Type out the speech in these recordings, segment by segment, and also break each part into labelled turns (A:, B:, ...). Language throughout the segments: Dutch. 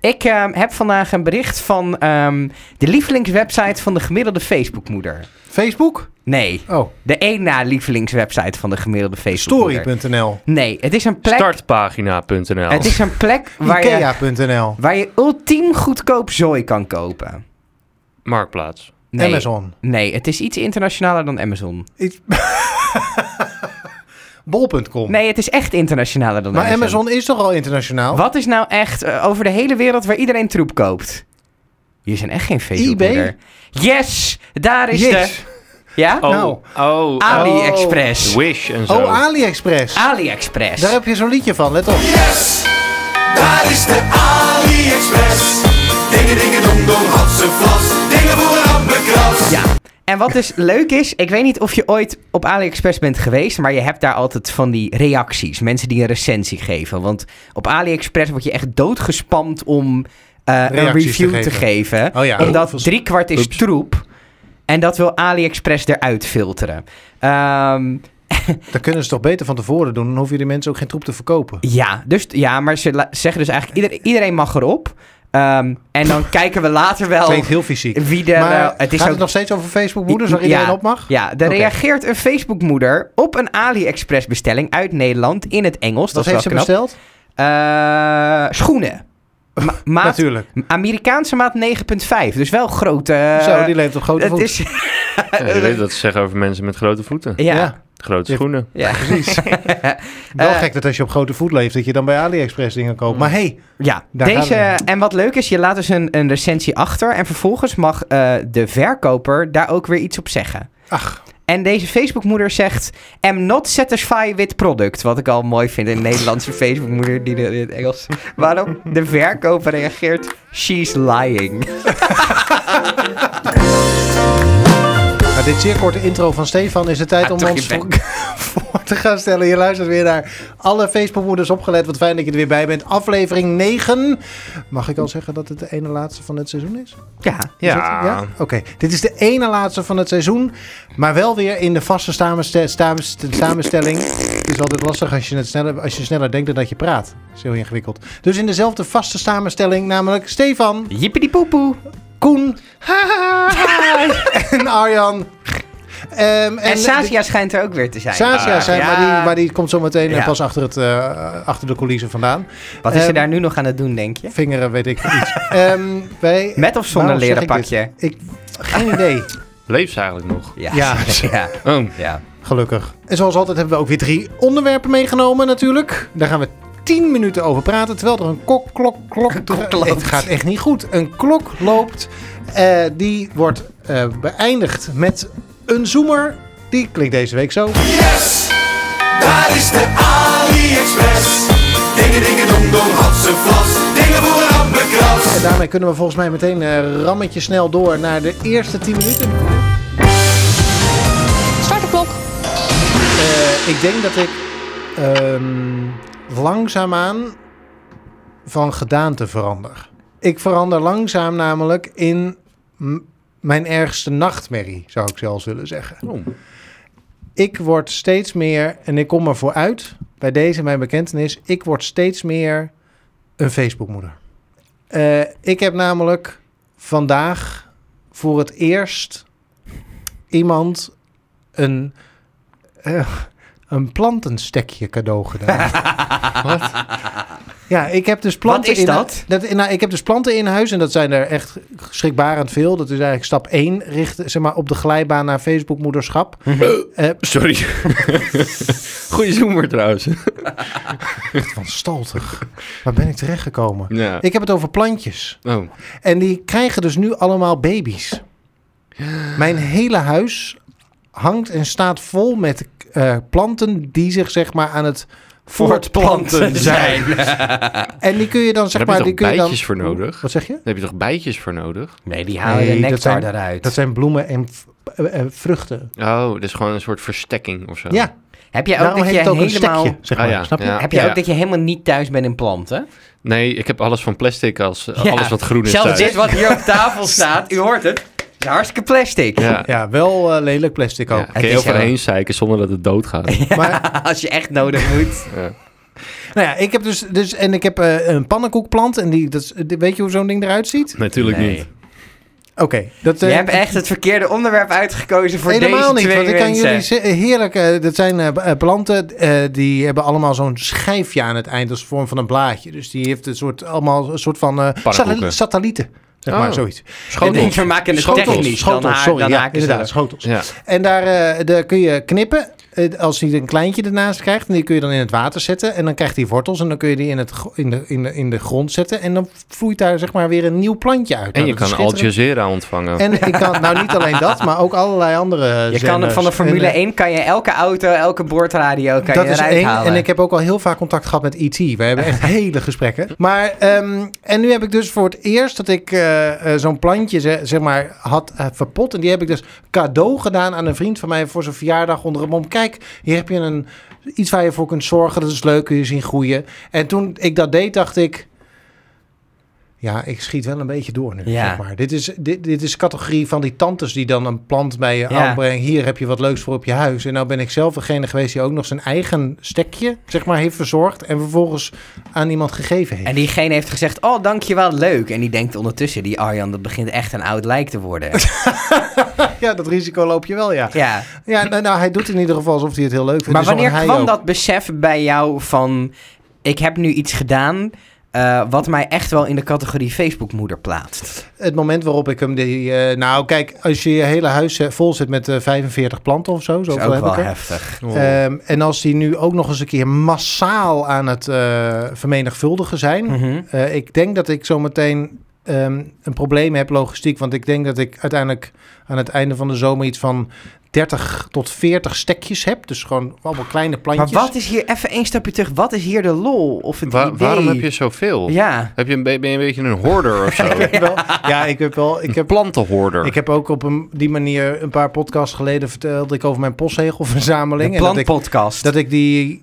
A: Ik ehm, heb vandaag een bericht van ehm, de lievelingswebsite van de gemiddelde Facebookmoeder.
B: Facebook?
A: Nee,
B: Oh,
A: de één na lievelingswebsite van de gemiddelde Facebookmoeder.
B: story.nl.
A: Nee, het is een plek,
C: Startpagina.nl.
D: nou.
A: het is een plek waar, je,
B: Ikea.nl.
A: waar je ultiem goedkoop zooi kan kopen.
C: Marktplaats.
A: Nee,
B: Amazon.
A: Nee, het is iets internationaler dan Amazon.
B: Iets- Bol.com.
A: Nee, het is echt internationaler dan
B: maar
A: Amazon.
B: Amazon is toch al internationaal?
A: Wat is nou echt eh, over de hele wereld waar iedereen troep koopt? Hier zijn echt geen Facebookmoeder.
B: eBay?
A: Yes, daar is de...
B: Jezus.
A: Ja?
C: Oh,
B: Nou.
C: oh,
A: Ah.
C: oh,
A: AliExpress.
C: Wish en zo.
B: Oh,
A: ah.
B: AliExpress.
A: AliExpress.
B: Daar heb je zo'n liedje van, let op.
E: Yes, daar is de AliExpress. Dingen, dingen, dong, dong, hatsen, vlas. Dingen voor een hammerkras.
A: Ja. En wat dus leuk is, ik weet niet of je ooit op AliExpress bent geweest, maar je hebt daar altijd van die reacties. Mensen die een recensie geven. Want op AliExpress word je echt doodgespamd om eh, een
B: Reacties te
A: review te geven.
B: geven. Oh ja.
A: omdat
B: Hoeveel-
A: driekwart is
C: Oeps.
A: troep. En dat wil AliExpress eruit filteren. Ehm,
B: Dat kunnen ze toch beter van tevoren doen? Dan hoef je die mensen ook geen troep te verkopen.
A: ja, dus, ja, maar ze la- zeggen dus eigenlijk, ieder- iedereen mag erop. Ehm, en dan kijken we later wel
B: Klinkt heel fysiek.
A: wie er...
B: maar
A: eh, het is
B: gaat
A: ook
B: het nog steeds over Facebook moeders waar
A: Ja.
B: iedereen op mag?
A: Ja, er
B: Oké.
A: reageert een Facebookmoeder op een AliExpress-bestelling uit Nederland in het Engels. Dat
B: Wat heeft
A: is
B: ze
A: wel knap.
B: besteld?
A: Eh, schoenen. Ma- maat,
B: Natuurlijk.
A: Amerikaanse maat 9,5. Dus wel grote... eh,
B: Zo, die leeft op grote
A: het
B: voet.
A: is,
C: Ja, je weet dat ze zeggen over mensen met grote voeten.
A: ja, ja.
B: Ja.
C: Grote
B: Ja.
C: schoenen.
A: Ja.
B: Precies. Wel
A: Eh,
B: gek dat als je op grote voet leeft, dat je dan bij AliExpress dingen koopt. Maar hey, Daar
A: Deze,
B: gaan
A: en wat leuk is, je laat dus een, een recensie achter. En vervolgens mag eh, de verkoper daar ook weer iets op zeggen.
B: ach,
A: En deze Facebookmoeder zegt... I'm not satisfied with product. Wat ik al mooi vind. Een Nederlandse Facebookmoeder die dat in het Engels... Waarom de verkoper reageert... She's lying.
B: na dit zeer korte intro van Stefan is het tijd
A: Ah,
B: om
A: toch,
B: ons
A: je bent-
B: voor, voor te gaan stellen. Je luistert weer naar alle Facebookmoeders opgelet. Wat fijn dat je er weer bij bent. Aflevering 9. Mag ik al zeggen dat het de ene laatste van het seizoen is?
A: Ja.
B: Is
C: Ja.
B: het- ja? Oké, dit is de ene laatste van het seizoen. Maar wel weer in de vaste samenste- samenste- samenstelling. Het is altijd lastig als je, het sneller, als je sneller denkt dan dat je praat. Dat is heel ingewikkeld. Dus in dezelfde vaste samenstelling, namelijk Stefan,
A: Jippity poepoe.
B: Koen en Arjan. Ehm, en
A: En, Sasia schijnt er ook weer te zijn. Ah,
B: Sasia zijn,
A: Ja.
B: maar, die, maar die komt zo meteen eh,
A: Ja.
B: pas achter, het, eh, achter de coulissen vandaan.
A: Wat is ze
B: Ehm,
A: daar nu nog aan het doen, denk je?
B: Vingeren, weet ik iets. Ehm, wij,
A: Met of zonder
B: waarom zeg
A: leren
B: ik dit?
A: pakje?
B: Ik, geen idee.
C: Leeft ze eigenlijk nog?
A: Ja.
B: Ja.
A: ja.
C: Oh,
A: ja.
B: Gelukkig. En zoals altijd hebben we ook weer drie onderwerpen meegenomen natuurlijk. Daar gaan we tien minuten over praten, terwijl er een kok, klok, klok...
A: klok loopt.
B: Het gaat echt niet goed. Een klok loopt, eh, die wordt eh, beëindigd met een zoemer. Die klinkt deze week zo.
E: Yes, daar is de AliExpress. Dingen, dingen, dong, dong, hatsen, vlas. Dingen voor een hammerkras.
B: En daarmee kunnen we volgens mij meteen eh, rammetje snel door naar de eerste 10 minuten.
D: Start de klok.
B: Eh, ik denk dat ik ehm, langzaamaan van gedaante verander. Ik verander langzaam namelijk in m- mijn ergste nachtmerrie, zou ik zelfs willen zeggen.
C: Oh.
B: Ik word steeds meer, en ik kom ervoor uit bij deze mijn bekentenis, ik word steeds meer een Facebookmoeder. Eh ik heb namelijk vandaag voor het eerst iemand een, eh, een plantenstekje cadeau gedaan. Wat? Ja, ik heb dus planten
A: is
B: in
A: dat?
B: nou, ik heb dus planten in huis en dat zijn er echt schrikbarend veel. Dat is eigenlijk stap 1 richt, zeg maar, op de glijbaan naar Facebookmoederschap.
A: Mhm.
B: Eh,
C: Sorry. Goeie zoomer trouwens.
B: van staltig. Waar ben ik terechtgekomen?
C: Ja.
B: Ik heb het over plantjes.
C: Oh.
B: En die krijgen dus nu allemaal baby's. Mijn hele huis hangt en staat vol met eh, planten die zich zeg maar aan het voortplanten zijn. En die kun je dan zeg
C: Daar heb
B: maar...
C: je toch
B: Die kun je dan,
C: bijtjes voor nodig?
B: Wat zeg je?
C: Daar heb je toch bijtjes voor nodig?
A: Nee, die halen
B: Nee,
A: de
B: dat
A: nectar
B: zijn-
A: eruit.
B: Dat zijn bloemen en v- eh, eh, vruchten.
C: Oh, dat is gewoon een soort verstekking of zo.
B: Ja,
A: heb jij ook
B: daarom
A: dat je
B: heet het ook
A: helemaal...
B: een stekje, zeg
C: Ah,
B: maar.
C: ja.
B: Snap je?
C: Ja.
A: Heb jij ook dat je helemaal niet thuis bent in planten?
C: Nee, ik heb alles van plastic als eh,
A: Ja.
C: alles wat groen is
A: Zelfs
C: thuis.
A: dit wat hier op tafel staat, u hoort het. is hartstikke plastic.
C: Ja.
B: Ja, wel eh, lelijk plastic ook.
C: Ja, kun
A: Oh, is
C: je overheen
A: wel-
C: zeiken zonder dat het doodgaat.
B: Maar
A: Als je echt nodig moet.
C: ja.
B: Nou ja, ik heb dus, dus en ik heb eh, een pannenkoekplant. En die, dat is, weet je hoe zo'n ding eruit ziet?
C: Natuurlijk
A: Nee.
C: niet.
B: Oké, dat
A: Je
B: eh,
A: hebt echt het verkeerde onderwerp uitgekozen voor
B: helemaal
A: deze
B: niet.
A: twee
B: Want ik kan
A: mensen.
B: jullie ze- heerlijk. eh, dat zijn eh, b- eh, planten eh, die hebben allemaal zo'n schijfje aan het eind als de vorm van een blaadje. Dus die heeft een soort allemaal een soort van eh,
C: Pannenkoeken.
B: satellieten. Zeg
C: Oh.
B: maar zoiets.
A: Ik denk,
C: Schotels.
A: we maken het
C: Schotels,
A: technisch. dan haak-
B: sorry.
A: dan
B: ja,
A: haken ze
B: inderdaad,
A: er-
B: schotels.
C: Ja.
B: En daar, eh, daar kun je knippen. eh, Als hij een kleintje ernaast krijgt, en die kun je dan in het water zetten. En dan krijgt hij wortels en dan kun je die in, het, gro- in, de, in, de, in de grond zetten. En dan vloeit daar zeg maar weer een nieuw plantje uit.
C: En
B: Nou,
C: je
B: dat is
C: kan Al
B: schitterend.
C: Jazeera ontvangen.
B: En ik kan, nou niet alleen dat, maar ook allerlei andere
A: Je kan het
B: zenders.
A: van de Formule
B: En, eh,
A: 1 kan je elke auto, elke boordradio kan
B: dat
A: je
B: is
A: eruit
B: één.
A: halen.
B: En ik heb ook al heel vaak contact gehad met E.T. We hebben echt hele gesprekken. Maar, ehm, en nu heb ik dus voor het eerst dat ik eh, eh, zo'n plantje ze- zeg maar, had eh, verpot. En die heb ik dus cadeau gedaan aan een vriend van mij voor zijn verjaardag onder een mom. Kijk, hier heb je een, iets waar je voor kunt zorgen. Dat is leuk, kun je zien groeien. En toen ik dat deed, dacht ik... Ja, ik schiet wel een beetje door nu,
A: Ja.
B: zeg maar. Dit is, dit, dit is categorie van die tantes die dan een plant bij je
A: Ja.
B: aanbrengen. Hier heb je wat leuks voor op je huis. En nou ben ik zelf degene geweest die ook nog zijn eigen stekje, zeg maar, heeft verzorgd. En vervolgens aan iemand gegeven heeft.
A: En diegene heeft gezegd, oh, dankjewel, leuk. En die denkt ondertussen, die Arjan, dat begint echt een oud lijk te worden.
B: Ja, dat risico loop je wel, ja.
A: ja.
B: Ja, nou, nou, hij doet in ieder geval alsof hij het heel leuk vindt.
A: Maar
B: Dus dan
A: wanneer
B: hij
A: kwam
B: ook.
A: dat besef bij jou van, ik heb nu iets gedaan eh, wat mij echt wel in de categorie Facebookmoeder plaatst?
B: Het moment waarop ik hem die... eh, nou, kijk, als je je hele huis eh, vol zit met eh, 45 planten of zo,
A: Dat
B: zoveel
A: is ook
B: heb
A: wel
B: ik er.
A: heftig.
C: Oh.
B: Ehm, en als die nu ook nog eens een keer massaal aan het eh, vermenigvuldigen zijn.
A: Mhm.
B: Eh, ik denk dat ik zometeen ehm een probleem heb logistiek. Want ik denk dat ik uiteindelijk aan het einde van de zomer iets van 30 tot 40 stekjes heb. Dus gewoon allemaal kleine
A: Maar
B: plantjes.
A: wat is hier, even één stapje terug, wat is hier de lol of het
C: Wa-
A: idee?
C: waarom heb je zoveel?
A: Ja,
C: Heb je een, be- ben je een beetje een hoorder of zo?
B: Ik heb wel, ja, ik heb wel. Ik
C: Een
B: heb,
C: plantenhoorder.
B: ik heb ook op een, die manier een paar podcasts geleden vertelde ik over mijn postzegelverzameling.
A: de
B: en dat ik
A: plantpodcast.
B: Dat ik die.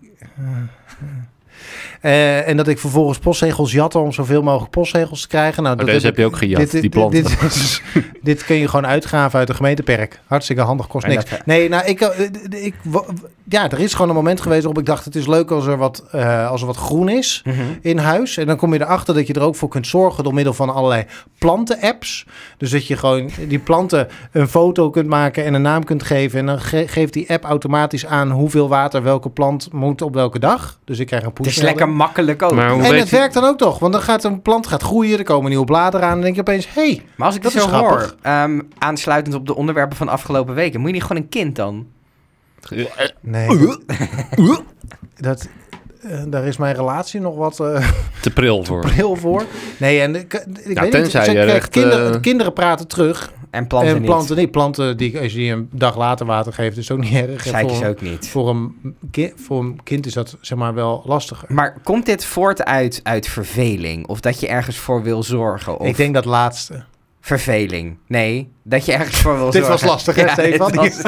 B: Eh, en dat ik vervolgens postzegels jatte om zoveel mogelijk postzegels te krijgen. Nou,
C: Oh,
B: dat
C: deze heb je ook
B: ik-
C: gejat, die planten.
B: dit, dit, is- dit kun je gewoon uitgraven uit een gemeenteperk. Hartstikke handig, kost
A: En
B: niks.
A: dat-
B: Nee, nou, ik, eh, d- d- ik, wa- ja, er is gewoon een moment geweest waarop ik dacht... het is leuk als er wat, eh, als er wat groen is
A: Mhm.
B: in huis. En dan kom je erachter dat je er ook voor kunt zorgen door middel van allerlei planten-apps. Dus dat je gewoon die planten een foto kunt maken en een naam kunt geven. En dan ge- geeft die app automatisch aan hoeveel water welke plant moet op welke dag. Dus ik krijg een
A: Het
B: push.
A: is lekker makkelijk ook.
C: Maar
A: Maar,
C: hoe
B: En
C: weet
B: het
C: je-
B: werkt dan ook toch, want dan gaat een plant gaat groeien, er komen nieuwe bladeren aan. En dan denk je opeens, hé, hey,
A: als ik dat
B: dat
A: zo
B: is
A: hoor,
B: grappig.
A: ehm, aansluitend op de onderwerpen van de afgelopen weken, moet je niet gewoon een kind dan?
B: nee. eh. Dat, eh, daar is mijn relatie nog wat eh
C: Te pril voor.
B: heel voor. Nee, en ik, ik
C: Ja,
B: weet niet.
C: tenzij
B: Ze-
C: je
B: kijk,
C: echt,
B: kinderen,
C: eh,
B: kinderen praten terug.
A: En planten
B: en
A: niet.
B: planten niet. Planten die, als je die een dag later water geeft, is ook niet erg. En
A: Zeik is
B: voor,
A: ook niet.
B: voor, een ki- voor een kind is dat zeg maar wel lastiger.
A: Maar komt dit voort uit, uit verveling? Of dat je ergens voor wil zorgen? Of
B: Ik denk dat laatste.
A: verveling. Nee, dat je ergens voor wil
B: Dit
A: zorgen.
B: was lastig, hè, Stefan?
A: dit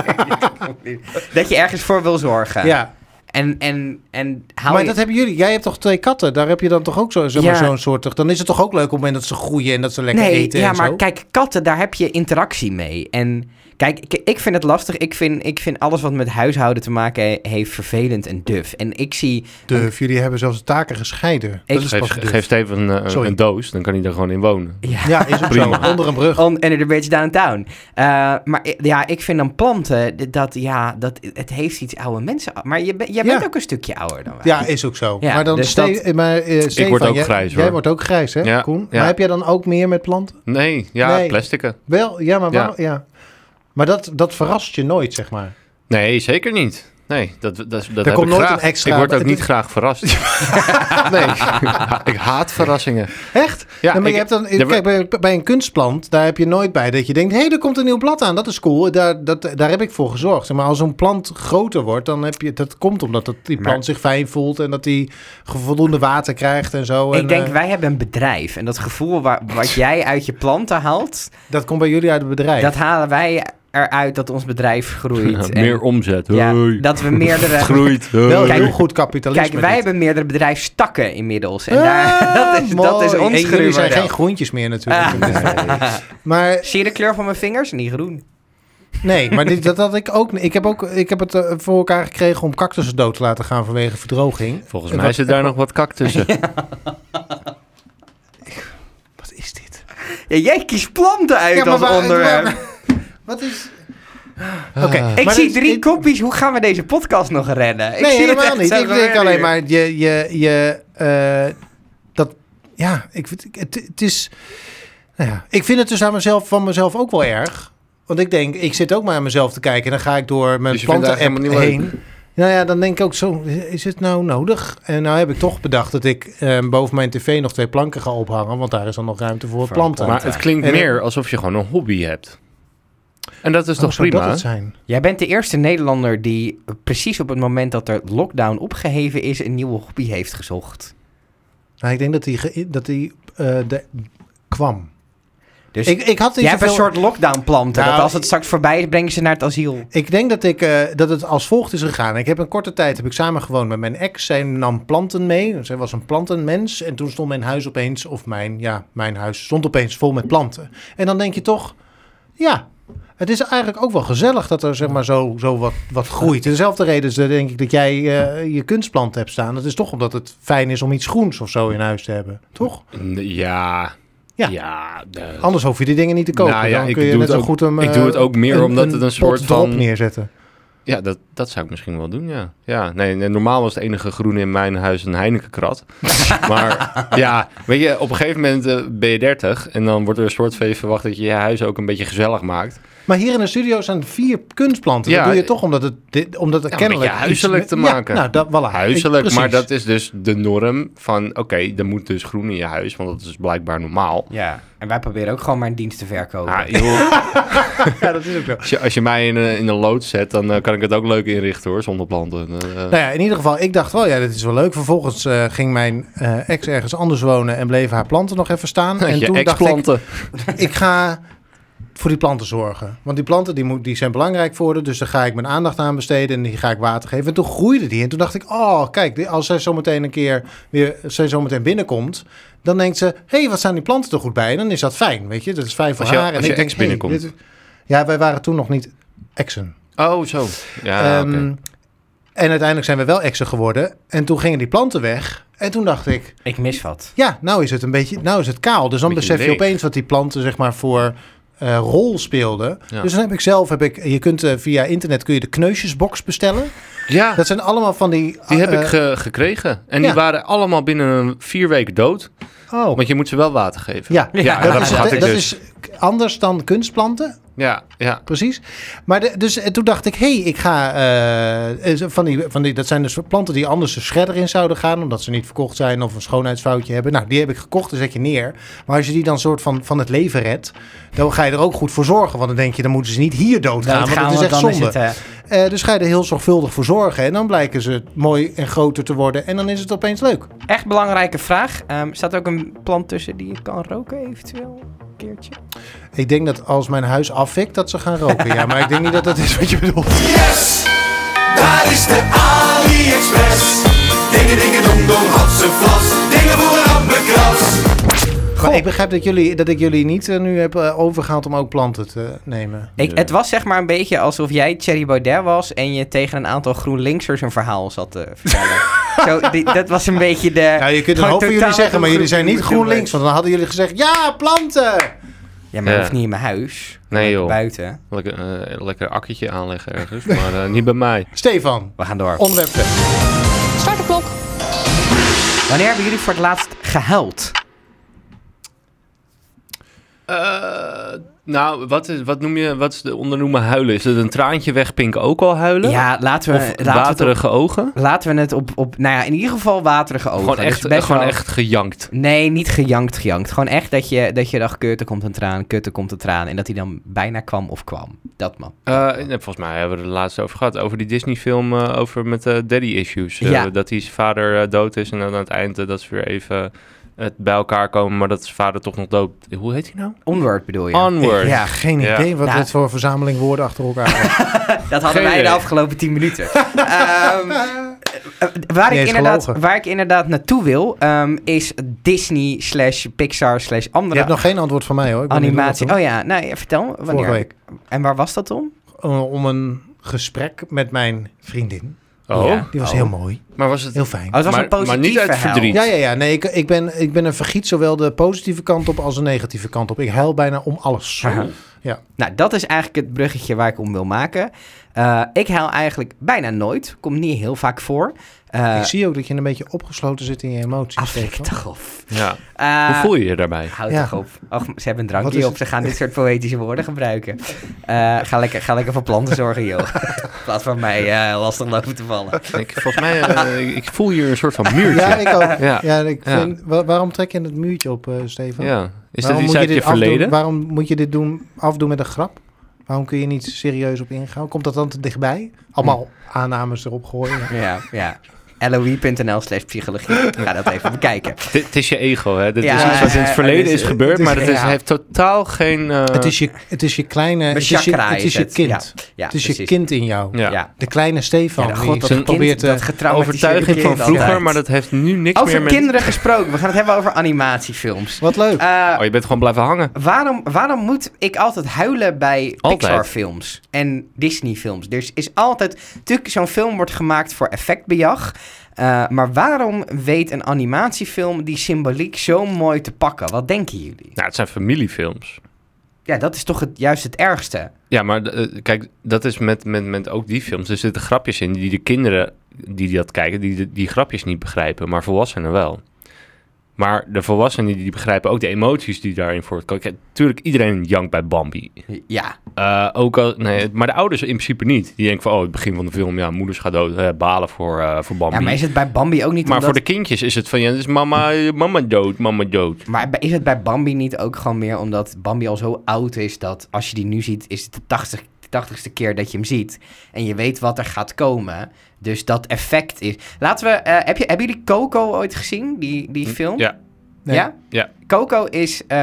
A: was- dat je ergens voor wil zorgen.
B: Ja.
A: En, en, en hou
B: maar
A: je-
B: dat hebben jullie. Jij hebt toch twee katten? Daar heb je dan toch ook zo, zeg maar,
A: Ja.
B: zo'n soort. Dan is het toch ook leuk op het moment dat ze groeien en dat ze lekker
A: nee,
B: eten
A: ja,
B: en
A: maar
B: zo.
A: kijk, katten, daar heb je interactie mee. En kijk, ik, ik vind het lastig. Ik vind, ik vind alles wat met huishouden te maken he- heeft vervelend en duf. En ik zie...
B: Durf, jullie hebben zelfs de taken gescheiden.
A: Ik-
B: dat is
C: Geef,
B: pas durf.
C: geef Steven een, eh,
B: Sorry.
C: een doos, dan kan hij daar gewoon in wonen.
A: Ja,
B: Ja, is ook zo.
C: Prima.
B: Onder een brug.
A: On, under the bridge downtown. Eh, maar i- ja, ik vind dan planten, d- dat, ja, dat, het heeft iets oude mensen... Maar je, ben- jij
B: Ja.
A: bent ook een stukje ouder dan wij.
B: Ja, is ook zo.
A: Ja,
B: maar dan
A: dus
B: Ste- maar, eh, Stefan,
C: word ook
B: jij-
C: grijs,
B: Jij
C: hoor.
B: wordt ook grijs, hè,
C: Ja,
B: Koen?
C: ja.
B: Maar heb jij dan ook meer met planten?
C: Nee, ja,
B: Nee.
C: plasticen.
B: Wel, ja, maar
C: Ja.
B: waarom- ja. Maar dat, dat verrast je nooit, zeg maar.
C: Nee, zeker niet. Nee, dat, dat, dat heb
B: komt
C: ik
B: nooit
C: graag.
B: een extra-
C: Ik word ook niet
B: Dit-
C: graag verrast. nee, ik haat verrassingen.
B: Echt?
C: Ja,
B: Nee, maar
C: ik-
B: je hebt dan,
C: Ja, maar-
B: kijk, bij, bij een kunstplant, daar heb je nooit bij dat je denkt... hé, hey, er komt een nieuw blad aan, dat is cool. Daar, dat, daar heb ik voor gezorgd. Zeg Maar als een plant groter wordt, dan heb je... dat komt omdat dat, die
A: Maar-
B: plant zich fijn voelt... en dat die ge- voldoende water krijgt en zo. en,
A: Ik denk,
B: eh,
A: wij hebben een bedrijf. En dat gevoel wa- wat jij uit je planten haalt,
B: dat komt bij jullie uit het bedrijf.
A: dat halen wij eruit dat ons bedrijf groeit. En
C: Meer omzet.
A: ja,
C: Hoi.
A: dat we meerdere.
C: groeit.
B: Wel
C: Hoi.
A: Kijk,
B: heel goed kapitalisme.
A: Kijk, wij
B: dit.
A: hebben meerdere bedrijfstakken inmiddels. En
B: Ah,
A: daar, dat, is, dat is
B: mooi.
A: ons
B: En
A: Ah.
B: jullie zijn
A: groeimodel.
B: geen groentjes meer natuurlijk. Maar
A: Zie je de kleur van mijn vingers? Niet groen.
B: Nee, maar dit, dat had ik ook niet. Ik heb, ook, ik heb het eh, voor elkaar gekregen om cactussen dood te laten gaan vanwege verdroging.
D: Volgens
B: En
D: mij
B: wat-
D: zit daar nog wat kak tussen.
B: Wat is dit?
A: Ja, jij kiest planten uit als
B: waar-
A: onderwerp.
B: waar- wat is... Oké,
A: ik
B: maar
A: zie
B: dit-
A: drie
B: dit-
A: kopjes. Hoe gaan we deze podcast nog redden? ik
B: Nee,
A: zie het
B: helemaal
A: echt
B: niet.
A: zo
B: Ik denk
A: gebeuren
B: alleen
A: hier.
B: maar je... je, je eh, dat, ja, ik, vind- het, het is... Nou ja, ik vind het dus aan mezelf, van mezelf ook wel erg. Want ik denk, ik zit ook maar aan mezelf te kijken... en dan ga ik door mijn
C: Dus je vindt het
B: planten
C: eigenlijk
B: app
C: helemaal niet leuk?
B: heen. Nou ja, dan denk ik ook zo, is het nou nodig? En nou heb ik toch bedacht dat ik eh, boven mijn tv nog twee planken ga ophangen... want daar is dan nog ruimte voor, planten.
D: Maar het klinkt
B: En-
D: meer alsof je gewoon een hobby hebt. En dat is
B: Oh,
D: toch
B: zou dat
D: prima?
B: het zijn?
A: Jij bent de eerste Nederlander die eh, precies op het moment dat er lockdown opgeheven is... een nieuwe hobby heeft gezocht.
B: Nou, ik denk dat die, ge- dat die eh, de, kwam.
A: Dus
B: ik, ik had niet
A: jij hebt een
B: zoveel-
A: soort lockdown planten. dat
B: Nou,
A: als het straks voorbij is, brengen ze naar het asiel.
B: Ik denk dat, ik, eh, dat het als volgt is gegaan. Ik heb een korte tijd heb ik samengewoond met mijn ex. Zij nam planten mee. Zij was een plantenmens. En toen stond mijn huis opeens, of mijn, ja, mijn huis stond opeens vol met planten. En dan denk je toch, ja, het is eigenlijk ook wel gezellig dat er zeg maar zo, zo wat, wat groeit. Dezelfde reden is eh, denk ik dat jij eh, je kunstplant hebt staan. Dat is toch omdat het fijn is om iets groens of zo in huis te hebben. Toch?
D: Ja.
B: Ja.
D: ja de-
B: Anders hoef je die dingen niet te kopen.
D: Nou ja,
B: dan
D: ik
B: kun je
D: doe
B: net
D: het
B: zo
D: ook-
B: goed hem,
D: ik
B: eh,
D: doe het ook meer omdat het een soort
B: pot erop
D: van-
B: neerzetten.
D: ja dat, dat zou ik misschien wel doen, ja. ja nee, nee, normaal was het enige groene in mijn huis een Heinekenkrat. maar ja, weet je, op een gegeven moment eh, ben je 30 en dan wordt er een soort van je verwacht dat je je huis ook een beetje gezellig maakt.
B: Maar hier in de studio zijn vier kunstplanten.
D: Ja,
B: dat doe je
D: eh,
B: toch omdat het, dit, omdat het
D: Ja, een
B: kennelijk...
D: beetje huiselijk
B: iets-
D: te
B: ja,
D: maken.
B: nou, dat, voilà.
D: Huiselijk,
B: Ik-
D: maar
B: precies.
D: dat is dus de norm van oké, er moet dus groen in je huis, want dat is blijkbaar normaal.
A: Ja. En wij proberen ook gewoon maar een dienst te verkopen.
D: Ah, joh,
B: Ja, dat is ook wel.
D: Als je, als je mij in, een- in een lood zet, dan eh, kan ik het ook leuk inrichten hoor, zonder planten. Eh, eh,
B: Nou ja, in ieder geval, ik dacht wel, ja, dat is wel leuk. Vervolgens eh, ging mijn eh, ex ergens anders wonen en bleven haar planten nog even staan. En
D: je
B: toen dacht ik,
D: ex-planten.
B: ik ga voor die planten zorgen. Want die planten die moet, die zijn belangrijk voor haar. Dus daar ga ik mijn aandacht aan besteden en die ga ik water geven. En toen groeide die. En toen dacht ik, oh kijk, die- als zij zometeen een keer weer, als zij zometeen binnenkomt. Dan denkt ze, hé, hey, wat staan die planten er goed bij? En dan is dat fijn, weet je. Dat is fijn voor
D: Als je-
B: haar. en
D: als je
B: ik denk,
D: ex binnenkomt.
B: hey, dit is- ja, wij waren toen nog niet exen.
D: Oh, zo. Ja, oké.
B: Ehm, En uiteindelijk zijn we wel exen geworden. En toen gingen die planten weg. En toen dacht ik,
A: Ik mis wat.
B: ja, nou is het een beetje, nou is het kaal. Dus dan
D: Beetje
B: besef je
D: leeg.
B: opeens wat die planten zeg maar voor eh, rol speelden.
D: Ja.
B: Dus dan heb ik zelf, heb ik, je kunt eh, via internet kun je de kneusjesbox bestellen.
D: ja
B: Dat zijn allemaal van die.
D: die heb
B: eh,
D: ik ge- gekregen. En
B: ja.
D: die waren allemaal binnen een vier weken dood,
B: oh.
D: want je moet ze wel water geven.
B: Ja,
D: Ja, dat
B: is,
D: had ik
B: dat
D: dus.
B: is anders dan kunstplanten,
D: Ja, ja.
B: precies. Maar de- dus eh, toen dacht ik, hé, hey, ik ga eh, eh, van, die, van die, dat zijn dus planten die anders de shredder in zouden gaan, omdat ze niet verkocht zijn of een schoonheidsfoutje hebben. Nou, die heb ik gekocht, dan zet je neer. Maar als je die dan soort van, van het leven redt, dan ga je er ook goed voor zorgen, want dan denk je, dan moeten ze niet hier doodgaan, want dat is echt
A: dan is
B: zonde.
A: het... eh,
B: Eh, dus ga je er heel zorgvuldig voor zorgen. En dan blijken ze mooi en groter te worden. En dan is het opeens leuk.
A: eh, echt belangrijke vraag. Ehm, staat er ook een plant tussen die je kan roken eventueel? Een keertje?
B: Ik denk dat als mijn huis afvikt, dat ze gaan roken. Ja, maar ik denk niet dat dat is wat je bedoelt.
E: Yes, daar is de AliExpress. Dingen, dingen, dong, dong, hatse, vlas. Dingen voor een appelkras.
B: Maar ik begrijp dat, jullie, dat ik jullie niet eh, nu heb eh, overgehaald om ook planten te nemen.
A: Ik, Het was zeg maar een beetje alsof jij Thierry Baudet was en je tegen een aantal GroenLinksers een verhaal zat te vertellen. Zo, die- dat was een beetje de...
B: Ja, je kunt een
A: gewoon
B: hoop van jullie
A: totaal
B: zeggen, maar jullie zijn niet
A: ongroen-
B: GroenLinks. Want dan hadden jullie gezegd, ja, planten!
A: Ja, maar dat
D: Ja.
A: hoeft niet in mijn huis.
D: Nee, joh.
A: Buiten.
D: Lekker, eh, lekker akkertje aanleggen ergens, maar eh, niet bij mij.
B: Stefan,
A: We gaan door.
B: onderwerp verder.
F: Start de klok.
A: Wanneer hebben jullie voor het laatst gehuild?
D: Eh, nou, wat, is, wat noem je, wat is de ondernoemen huilen? Is het een traantje wegpinken ook al huilen?
A: Ja, laten
B: eh,
A: we, laten
D: of
A: we het op,
D: waterige ogen?
B: Oh,
A: laten we het op, op... Nou ja, in ieder geval waterige ogen.
D: Gewoon,
A: Dus
D: echt,
A: best
D: gewoon
A: wel-
D: echt gejankt.
A: Nee, niet gejankt, gejankt. Gewoon echt dat je, dat je dacht, kutte komt een traan, kutte komt een traan. En dat hij dan bijna kwam of kwam. Dat man.
D: Eh, nee, volgens mij hebben we het er laatst over gehad. Over die Disney-film eh, over met eh, daddy issues. Eh,
A: Ja.
D: Dat hij zijn vader eh, dood is en dan aan het eind eh, dat ze weer even het bij elkaar komen, maar dat zijn vader toch nog dood. Hoe heet hij nou?
A: Onward bedoel je?
D: Onward.
B: Ja, geen
D: Ja.
B: idee wat
A: Nou.
B: dit voor verzameling woorden achter elkaar is.
A: Dat hadden
D: Geen
A: wij de
D: idee.
A: afgelopen 10 minuten. Ehm, eh, waar,
B: Niet
A: ik
B: eens
A: inderdaad,
B: gelogen.
A: waar ik inderdaad naartoe wil, ehm, is Disney slash Pixar slash
B: Je
A: andere
B: hebt nog geen antwoord van mij hoor. Ik ben
A: animatie.
B: benieuwd
A: Oh ja, nou ja, vertel.
B: wat er- Vorige
A: Wanneer?
B: week.
A: En waar was dat om? Oh,
B: eh, om een gesprek met mijn vriendin.
D: Oh,
A: Ja.
B: Die was
A: Oh.
B: heel mooi,
D: maar was het...
B: heel fijn.
A: Oh, het was
D: Maar-
A: een positief
D: maar niet uit
A: verhaal.
D: verdriet.
B: Ja, ja, ja. Nee, ik, ik, ben, ik ben een vergiet zowel de positieve kant op als de negatieve kant op. Ik huil bijna om alles.
A: Aha.
B: Ja.
A: Nou, dat is eigenlijk het bruggetje waar ik om wil maken. Eh, ik huil eigenlijk bijna nooit. Komt niet heel vaak voor. Eh,
B: ik zie ook dat je een beetje opgesloten zit in je emoties.
A: Afrik
B: Stefan.
A: toch op.
D: Ja.
A: Eh,
D: Hoe voel je je daarbij?
A: Houd
B: Ja.
A: toch op. Och, ze hebben een
B: Wat is
A: drankje op.
B: het?
A: Ze gaan dit soort poëtische woorden gebruiken. Eh, ga, lekker, ga lekker voor planten zorgen, joh. In plaats van mij eh, lastig lopen te vallen.
D: Ik, volgens mij, eh, ik- ik voel hier een soort van muurtje.
B: Ja, ik ook.
D: Ja.
B: Ja. ik
D: Ja.
B: vind, wa- waarom trek je het muurtje op, eh, Stefan?
D: Ja. Is dat
B: waarom
D: iets
B: moet
D: uit je,
B: dit afdoen-
D: verleden?
B: Waarom moet je dit doen, afdoen met een grap? Waarom kun je niet serieus op ingaan? Komt dat dan te dichtbij? Allemaal
D: Hm.
B: aannames erop gooien.
D: Eh.
A: Ja, ja. LOE.nl slash psychologie. Ga dat even bekijken.
D: Dit het is je ego, hè? Dit
A: Ja,
D: is iets wat in
A: ja,
D: het verleden
A: het
D: is,
A: is-
D: gebeurd,
B: het is-
D: maar het is,
A: ja.
D: heeft totaal geen... eh,
B: het, is je, het is je kleine...
A: Mijn
B: Het is je,
A: chakra
B: het
A: is
B: is je
A: het.
B: kind.
A: Ja, ja,
B: het is Dus je
A: precies.
B: kind in jou.
D: ja. Oh,
A: Ja.
B: De kleine Stefan.
A: Ja, dat
B: die
A: god, dat kind,
B: probeert te...
A: dat getraumatiseerde
D: eh, Overtuiging van
A: kind
D: vroeger,
A: altijd.
D: maar dat heeft nu niks
A: Over
D: meer met...
A: kinderen gesproken. We gaan het hebben over animatiefilms.
B: Wat leuk.
A: Eh,
D: Oh, je bent gewoon blijven hangen.
A: waarom, waarom moet ik altijd huilen bij
D: Altijd.
A: Pixar-films en Disney-films? Er is altijd... Natuurlijk, zo'n film wordt gemaakt voor effectbejag. eh, maar waarom weet een animatiefilm die symboliek zo mooi te pakken? Wat denken jullie?
D: Nou, het zijn familiefilms.
A: Ja, dat is toch het, juist het ergste.
D: Ja, maar eh, kijk, dat is met, met, met ook die films. Er zitten grapjes in die de kinderen die dat kijken, die de- die grapjes niet begrijpen, maar volwassenen wel. Maar de volwassenen die begrijpen ook de emoties die daarin voortkomen. Kijk, Tuurlijk, iedereen jankt bij Bambi.
A: Ja,
D: Eh, ook al, nee, maar de ouders in principe niet. Die denken van, oh, het begin van de film, ja, moeders gaat dood, eh, balen voor, eh, voor Bambi.
A: ja maar is het bij Bambi ook niet
D: Maar
A: omdat-
D: voor de kindjes is het van, ja, dus mama, mama dood, mama dood.
A: Maar is het bij Bambi niet ook gewoon meer omdat Bambi al zo oud is dat als je die nu ziet, is het de 80, de 80ste keer dat je hem ziet. En je weet wat er gaat komen. Dus dat effect is. Laten we. eh, heb je, hebben jullie Coco ooit gezien? Die, die film?
D: Hm, Ja,
B: Nee.
A: Ja?
D: Ja.
A: Coco is... eh,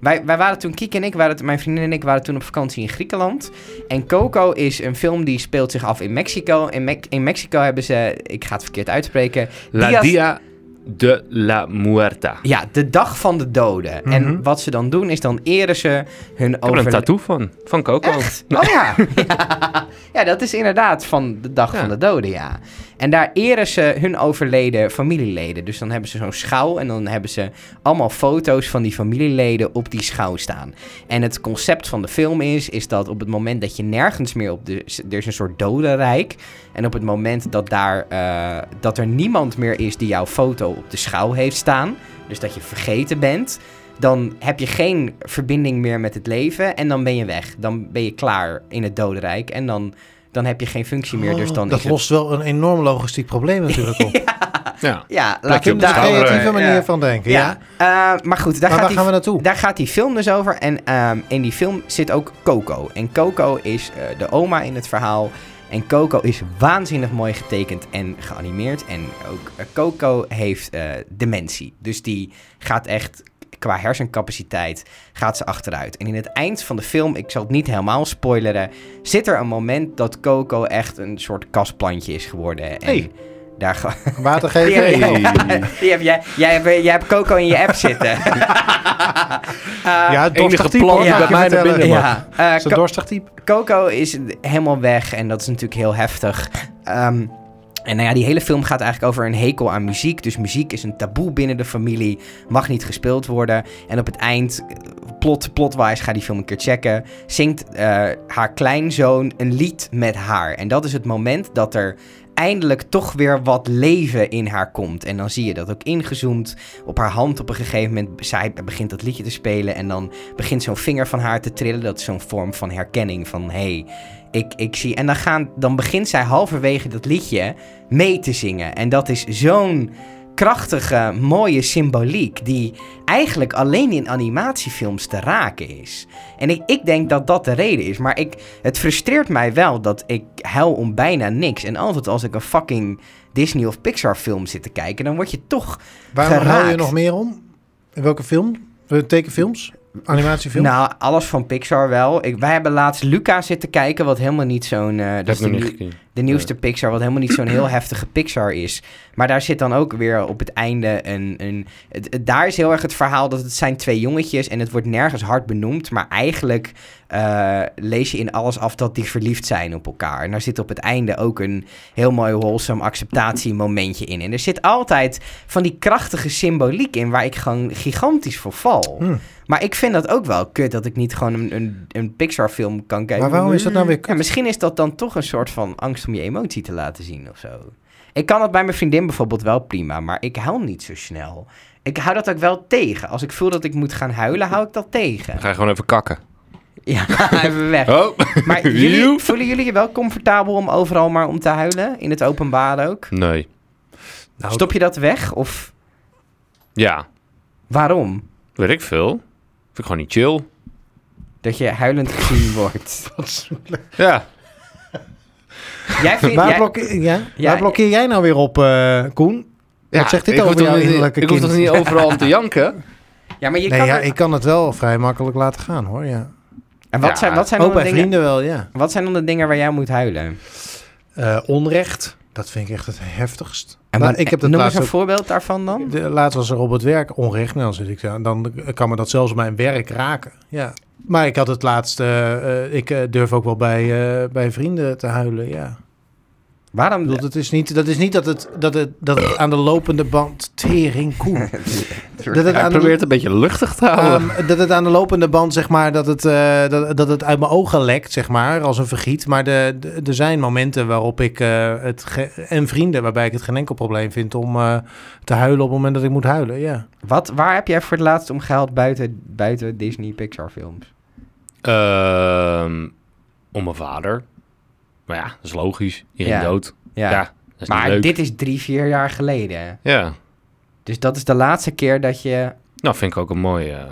A: wij, wij waren toen, Kiek en ik, waren, t- mijn vriendin en ik waren toen op vakantie in Griekenland. En Coco is een film die speelt zich af in Mexico. In, Mex- in Mexico hebben ze, ik ga het verkeerd uitspreken...
D: La
A: Dias-
D: Dia de la Muerta. Ik
A: Ja, de dag van de doden. En wat ze dan doen is dan eren ze hun
D: Mhm. heb er een
A: overle-
D: tattoo van, van Coco.
A: Echt? Oh ja. ja. Ja, dat is inderdaad van de dag
D: Ja.
A: van de doden, ja. En daar eren ze hun overleden familieleden. Dus dan hebben ze zo'n schouw en dan hebben ze allemaal foto's van die familieleden op die schouw staan. En het concept van de film is, is dat op het moment dat je nergens meer op de... Er is een soort dodenrijk. En op het moment dat, daar, eh, dat er niemand meer is die jouw foto op de schouw heeft staan... dus dat je vergeten bent dan heb je geen verbinding meer met het leven en dan ben je weg. Dan ben je klaar in het dodenrijk en dan, dan heb je geen functie
D: Oh,
A: meer. Dus dan
B: Oh, dat
A: is het-
B: lost wel een enorm logistiek probleem natuurlijk op.
D: Ja.
A: Ja,
B: Laat
A: laat
B: je
A: ik
B: op de
A: daar...
D: schouder,
B: creatieve
A: Ja.
B: manier van denken. Ja.
A: Ja, eh, maar goed, daar,
B: Maar
A: gaat
B: waar
A: die,
B: gaan we naartoe?
A: daar gaat die film dus over. En ehm, in die film zit ook Coco. En Coco is eh, de oma in het verhaal. En Coco is waanzinnig mooi getekend en geanimeerd. En ook eh, Coco heeft eh, dementie. Dus die gaat echt qua hersencapaciteit gaat ze achteruit. En in het eind van de film, ik zal het niet helemaal spoileren... zit er een moment dat Coco echt een soort kasplantje is geworden. En
B: Hey.
A: daar... ga-
B: Water geven.
A: Ja, ja,
B: Ja,
A: Eh, Die heb jij, jij, hebt, jij hebt Coco in je app zitten.
B: het dorstig
D: enige
B: type.
D: plan
B: hoor,
A: die
B: mag
A: bij
B: je
D: mij naar
B: vertellen.
D: binnen
B: Ja.
D: mag.
A: Ja, eh,
B: Is een
A: Co-
B: dorstig type.
A: Coco is helemaal weg en dat is natuurlijk heel heftig. Ehm, en nou ja, die hele film gaat eigenlijk over een hekel aan muziek. Dus muziek is een taboe binnen de familie, mag niet gespeeld worden. En op het eind, eh, plot, plotwise, ga die film een keer checken, zingt eh, haar kleinzoon een lied met haar. En dat is het moment dat er eindelijk toch weer wat leven in haar komt. En dan zie je dat ook ingezoomd op haar hand op een gegeven moment. Zij begint dat liedje te spelen en dan begint zo'n vinger van haar te trillen. Dat is zo'n vorm van herkenning van hé, hey, ik, ik zie. En dan, gaan, dan begint zij halverwege dat liedje mee te zingen. En dat is zo'n krachtige, mooie symboliek die eigenlijk alleen in animatiefilms te raken is. En ik, ik denk dat dat de reden is. Maar ik, het frustreert mij wel dat ik huil om bijna niks. En altijd als ik een fucking Disney of Pixar film zit te kijken, dan word je toch
B: Waarom hou je
A: geraakt.
B: nog meer om? In welke film? Eh, Tekenfilms? Animatiefilms?
A: Nou, alles van Pixar wel. Ik, wij hebben laatst Luca zitten kijken, wat helemaal niet zo'n... eh, dat
D: Dat
A: is
D: heb
A: die
D: ik nog niet
A: nie-
D: gekeken.
A: de nieuwste Pixar, wat helemaal niet zo'n heel heftige Pixar is. Maar daar zit dan ook weer op het einde een... een het, het- daar is heel erg het verhaal dat het zijn twee jongetjes en het wordt nergens hard benoemd. Maar eigenlijk eh, lees je in alles af dat die verliefd zijn op elkaar. En daar zit op het einde ook een heel mooi wholesome acceptatiemomentje in. En er zit altijd van die krachtige symboliek in waar ik gewoon gigantisch voor val.
B: Hmm.
A: Maar ik vind dat ook wel kut dat ik niet gewoon een, een, een Pixar film kan kijken.
B: Maar waarom is dat nou weer
A: Ja,
B: kut?
A: misschien is dat dan toch een soort van angst om je emotie te laten zien of zo. Ik kan dat bij mijn vriendin bijvoorbeeld wel prima, maar ik huil niet zo snel. Ik hou dat ook wel tegen. Als ik voel dat ik moet gaan huilen, hou ik dat tegen.
D: Dan ga je gewoon even kakken.
A: Ja, even weg.
D: Oh.
A: Maar jullie,
D: Joep.
A: voelen jullie je wel comfortabel om overal maar om te huilen? In het openbaar ook?
D: Nee.
B: Nou,
A: Stop je dat weg of
D: Ja,
A: waarom?
D: weet ik veel. Vind ik gewoon niet chill.
A: Dat je huilend gezien wordt.
D: Ja.
A: Jij vindt,
B: Waar,
A: jij-
B: blokkeer, ja?
A: Ja,
B: waar blokkeer jij nou weer op, eh, Koen?
D: ja.
B: zegt dit
D: ik
B: over
D: hoef toch
B: jouw
D: niet-
B: innerlijke
D: Ik hoef
B: kind?
D: toch niet overal om te janken?
A: ja, maar je
B: nee,
A: kan
B: ja,
A: er-
B: ik kan het wel vrij makkelijk laten gaan, hoor. Ja.
A: En wat
D: Ja.
A: zijn, wat, zijn dan
B: Ook
A: de
B: bij
A: dingen,
B: vrienden wel, ja.
A: wat zijn dan de dingen waar jij moet huilen?
B: Eh, onrecht, dat vind ik echt het heftigst.
A: En
B: Nou,
A: wat-
B: ik heb dat
A: noem eens
B: laatst
A: een
B: ook
A: voorbeeld daarvan dan.
B: De, laatst was er op het werk onrecht. Nou, dan, zit ik, daar- dan kan me dat zelfs op mijn werk raken. Ja. Maar ik had het laatst... eh, eh, ik eh, durf ook wel bij, eh, bij vrienden te huilen, ja. Ik
A: Waarom
B: bedoel, het is niet, dat is niet dat het, dat het, dat het aan de lopende band... Tering, Koen. Dat het
D: Hij
B: aan de-
D: probeert een beetje luchtig te houden.
B: Ehm, dat het aan de lopende band, zeg maar, dat het, eh, dat, dat het uit mijn ogen lekt, zeg maar, als een vergiet. Maar de, de- er zijn momenten waarop ik eh, het, ge- en vrienden, waarbij ik het geen enkel probleem vind om eh, te huilen op het moment dat ik moet huilen, ja.
A: Wat, waar heb jij voor het laatst om gehuild buiten, buiten Disney Pixar films?
D: Ehm, om mijn vader. Maar ja, dat is logisch. Die ging
A: Ja.
D: dood.
A: Ja.
D: Ja, dat is
A: maar
D: niet leuk.
A: dit is drie, vier jaar geleden.
D: Ja,
A: Dus dat is de laatste keer dat je...
D: nou vind ik ook een mooie, eh,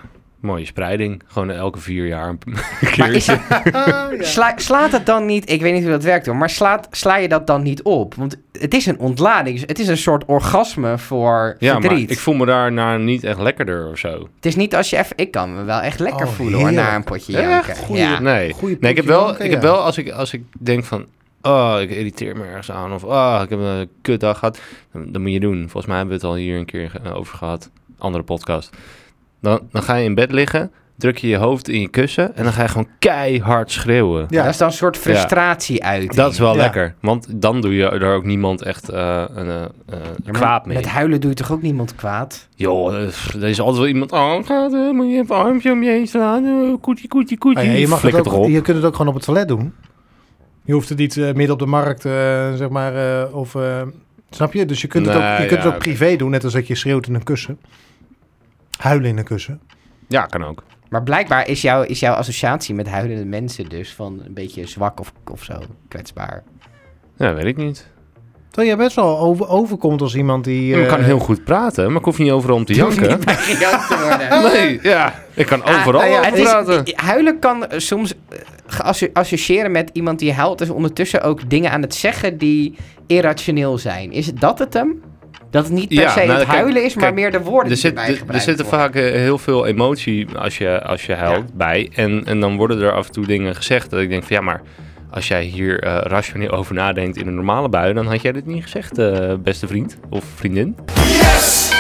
D: mooie spreiding. Gewoon elke vier jaar een keertje.
A: Maar is dat- Sla- slaat het dan niet... Ik weet niet hoe dat werkt hoor. Maar slaat, sla je dat dan niet op? Want het is een ontlading. Het is een soort orgasme voor
D: ja, maar
A: verdriet.
D: ik voel me daarna niet echt lekkerder of zo.
A: Het is niet als je even... Ik kan me wel echt lekker
B: Oh,
A: voelen hoor.
B: heerlijk.
A: Na een potje
D: Echt?
A: janken.
B: Goeie-
A: Ja.
D: Nee.
B: Goeie
D: nee, ik heb
B: potje
D: wel,
B: janken,
D: ik heb
B: ja.
D: wel als, ik, als ik denk van, oh, ik irriteer me ergens aan of oh, ik heb een kutdag gehad, dan, dan moet je doen. Volgens mij hebben we het al hier een keer ge- over gehad, andere podcast. Dan, dan ga je in bed liggen, druk je je hoofd in je kussen en dan ga je gewoon keihard schreeuwen.
B: Ja.
A: Dat is dan een soort frustratie uit.
D: Dat is wel
B: Ja.
D: lekker, want dan doe je er ook niemand echt eh, een, eh, eh, kwaad mee.
A: Met huilen doe je toch ook niemand kwaad?
D: Joh, eh, pff, er is altijd wel iemand, oh, gaat, eh, moet je even een armpje om je heen slaan, eh, koetje, koetje, koetje,
B: Ah, ja, je, mag het
D: flikker
B: ook,
D: erop.
B: je kunt het ook gewoon op het toilet doen. Je hoeft het niet eh, midden op de markt, eh, zeg maar, eh, of... eh, snap je? Dus je kunt het ook,
D: Nee,
B: je kunt
D: ja,
B: het ook privé doen, net als dat je schreeuwt in een kussen. Huilen in een kussen.
D: Ja, kan ook.
A: Maar blijkbaar is, jouw is jouw associatie met huilende mensen dus van een beetje zwak of, of zo, kwetsbaar.
D: Ja, weet ik niet.
B: Terwijl jij best wel over, overkomt als iemand die...
D: Ja, Ik
B: eh,
D: kan heel goed praten, maar ik hoef niet overal om te janken.
A: Gejat te worden.
D: Nee, ja. Ik kan overal
A: Ah, ah, ja,
D: over
A: het is-
D: praten.
A: Huilen kan eh, soms eh, geasso- associëren met iemand die huilt... is ondertussen ook dingen aan het zeggen die irrationeel zijn. Is dat het hem? Dat het niet per
D: Ja,
A: se
D: nou,
A: het
D: kijk-
A: huilen is, maar
D: kijk,
A: meer de woorden
D: Er,
A: die
D: zit,
A: erbij
D: er, er
A: gebruikt
D: zit er
A: worden.
D: vaak eh, heel veel emotie als je, als je huilt bij. En, en dan worden er af en toe dingen gezegd dat ik denk van ja, maar als jij hier eh, rationeel over nadenkt in een normale bui, dan had jij dit niet gezegd, eh, beste vriend of vriendin.
E: Yes,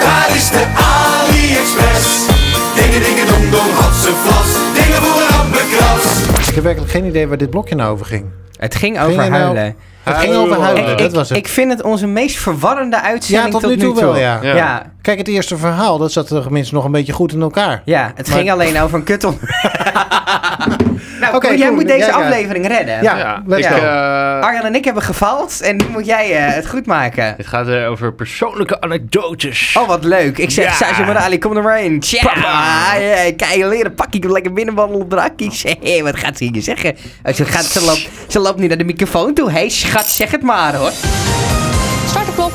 E: daar is de AliExpress. Dingen, dingen, dong, dong, hatse, vlas. Dingen voor een happenkras.
B: Ik heb werkelijk geen idee waar dit blokje nou over ging.
A: Het ging
B: Ging
A: over
B: je nou-
A: huilen.
B: Het ging over huilen,
A: ik,
B: dat
A: ik,
B: was het.
A: ik vind het onze meest verwarrende uitzending
B: ja, tot, nu toe wel, ja.
A: Ja. Ja,
B: Kijk, het eerste verhaal, dat zat er tenminste nog een beetje goed in elkaar.
A: het
B: Maar-
A: ging alleen over een kut om. nou,
B: Oké,
A: Koen, jij
B: Koen,
A: moet deze
B: jij gaat.
A: aflevering redden.
B: Ja, let's
D: ik,
B: go.
D: eh,
A: Arjan en ik hebben gefaald en nu moet jij eh, het goed maken.
D: het gaat eh, over persoonlijke anekdotes.
A: Oh, wat leuk. Ik zeg,
D: Ja.
A: Sergio Morali, kom er maar in. Tja,
D: Papa.
A: ja, kan je leren. Pak ik hem lekker binnenwandelen op de hakkies. Hé, wat gaat ze hier zeggen? Oh, Ze, gaat, ze, loopt, ze loopt nu naar de microfoon toe. Hé, schat, zeg het maar hoor.
F: Start de klok.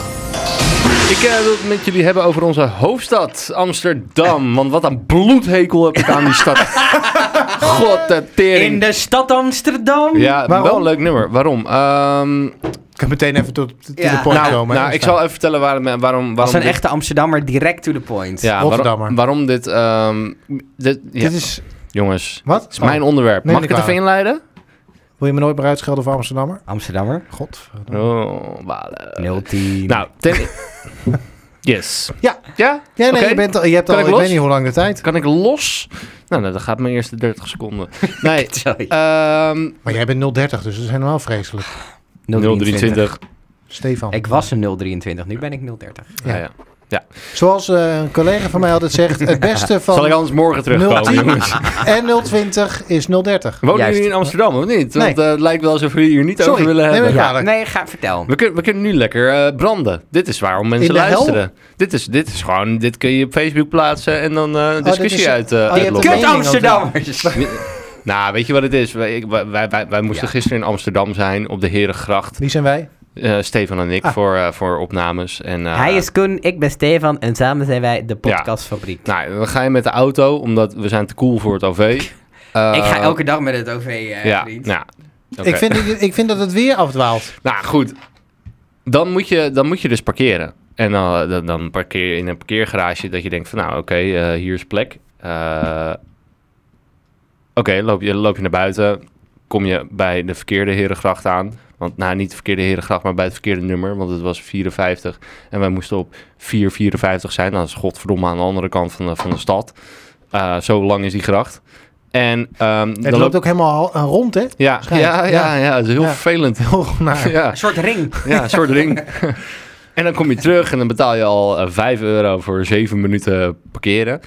D: Ik eh, wil het met jullie hebben over onze hoofdstad, Amsterdam. Want wat een bloedhekel heb ik aan die stad. God, de tering.
A: In de stad Amsterdam.
D: Ja,
B: Waarom?
D: wel een leuk nummer. Waarom? Ehm,
B: Ik kan meteen even tot to
A: Ja.
B: the point
D: nou,
B: komen. hè.
D: nou, ik zal even vertellen waarom... waarom, waarom
A: Als een
D: dit-
A: echte Amsterdammer, direct to the point.
D: ja,
B: Rotterdammer.
D: waarom, waarom dit... ehm, dit ja,
B: Dit is...
D: Jongens,
B: Wat?
D: het is mijn onderwerp.
B: neem
D: Mag
B: me
D: ik het
B: kwalijk.
D: even inleiden?
B: Oh, Wil je me nooit meer uitschelden voor Amsterdammer?
A: Amsterdammer,
B: God.
D: Oh, walen.
A: 010.
D: Nou, ten- yes.
B: Ja.
D: Ja?
B: Ja, nee,
D: Oké.
B: je, bent al, je hebt
D: Kan
B: al,
D: ik
B: ik,
D: los?
B: weet niet hoe lang de tijd.
D: Kan ik los? Nou, nou, dat gaat mijn eerste 30 seconden. Nee.
A: Sorry.
D: ehm
B: Maar jij bent 030, dus dat is helemaal vreselijk.
D: 023.
B: Stefan.
A: Ik was een 023, nu ben ik 030.
D: Ja, ja.
B: Zoals eh, een collega van mij altijd zegt, het beste
D: Zal ik
B: van
D: anders morgen terugkomen?
B: 010
D: jongens?
B: en 020 is 030.
D: Wonen
A: Juist.
D: jullie in Amsterdam of niet? Want
B: Nee.
D: eh, het lijkt wel alsof jullie hier niet
B: Sorry,
D: over willen
B: nee,
D: hebben.
B: maar- Ja.
A: Nee, ga vertel.
D: We kunnen, we kunnen nu lekker eh, branden. Dit is waarom mensen
B: de hel?
D: luisteren. Dit is, dit is gewoon, dit kun je op Facebook plaatsen en dan eh, een discussie
B: Oh, is-
D: uit. eh,
B: je hebt
D: uitlokken.
B: een
A: Kut
B: mening
A: Amsterdammers!
D: Nou, weet je wat het is? Wij, ik- wij, wij, wij, wij moesten
A: Ja.
D: gisteren in Amsterdam zijn op de Herengracht.
B: Wie zijn wij?
D: Eh Stefan en ik
B: Ah.
D: voor, eh, voor opnames. En, eh,
A: Hij is Koen, ik ben Stefan en samen zijn wij de podcastfabriek.
D: Nou, dan ga je met de auto, omdat we zijn te cool voor het OV. Eh,
A: ik ga elke dag met het OV, eh,
D: ja,
A: vriend.
D: nou, oké.
B: Ik, vind, dat- ik vind dat het weer afdwaalt.
D: Nou goed, dan moet je, dan moet je dus parkeren. En dan, dan, dan parkeer je in een parkeergarage dat je denkt van nou oké, eh, hier is plek. Eh, oké, loop, je, loop je naar buiten, kom je bij de verkeerde Herengracht aan. Want nou, niet de verkeerde Herengracht, maar bij het verkeerde nummer, want het was 54. En wij moesten op 454 zijn. Nou, dat is godverdomme aan de andere kant van de, van de stad. Eh, zo lang is die gracht. En ehm,
B: Het loopt ook helemaal al- rond, hè?
D: Ja, ja,
B: schijnt.
D: ja, ja,
B: Ja.
D: het is heel
B: Ja.
D: vervelend.
B: Heel naar.
D: Ja.
A: Een soort ring.
D: Ja, een soort ring. en dan kom je terug en dan betaal je al eh, 5 euro voor 7 minuten parkeren.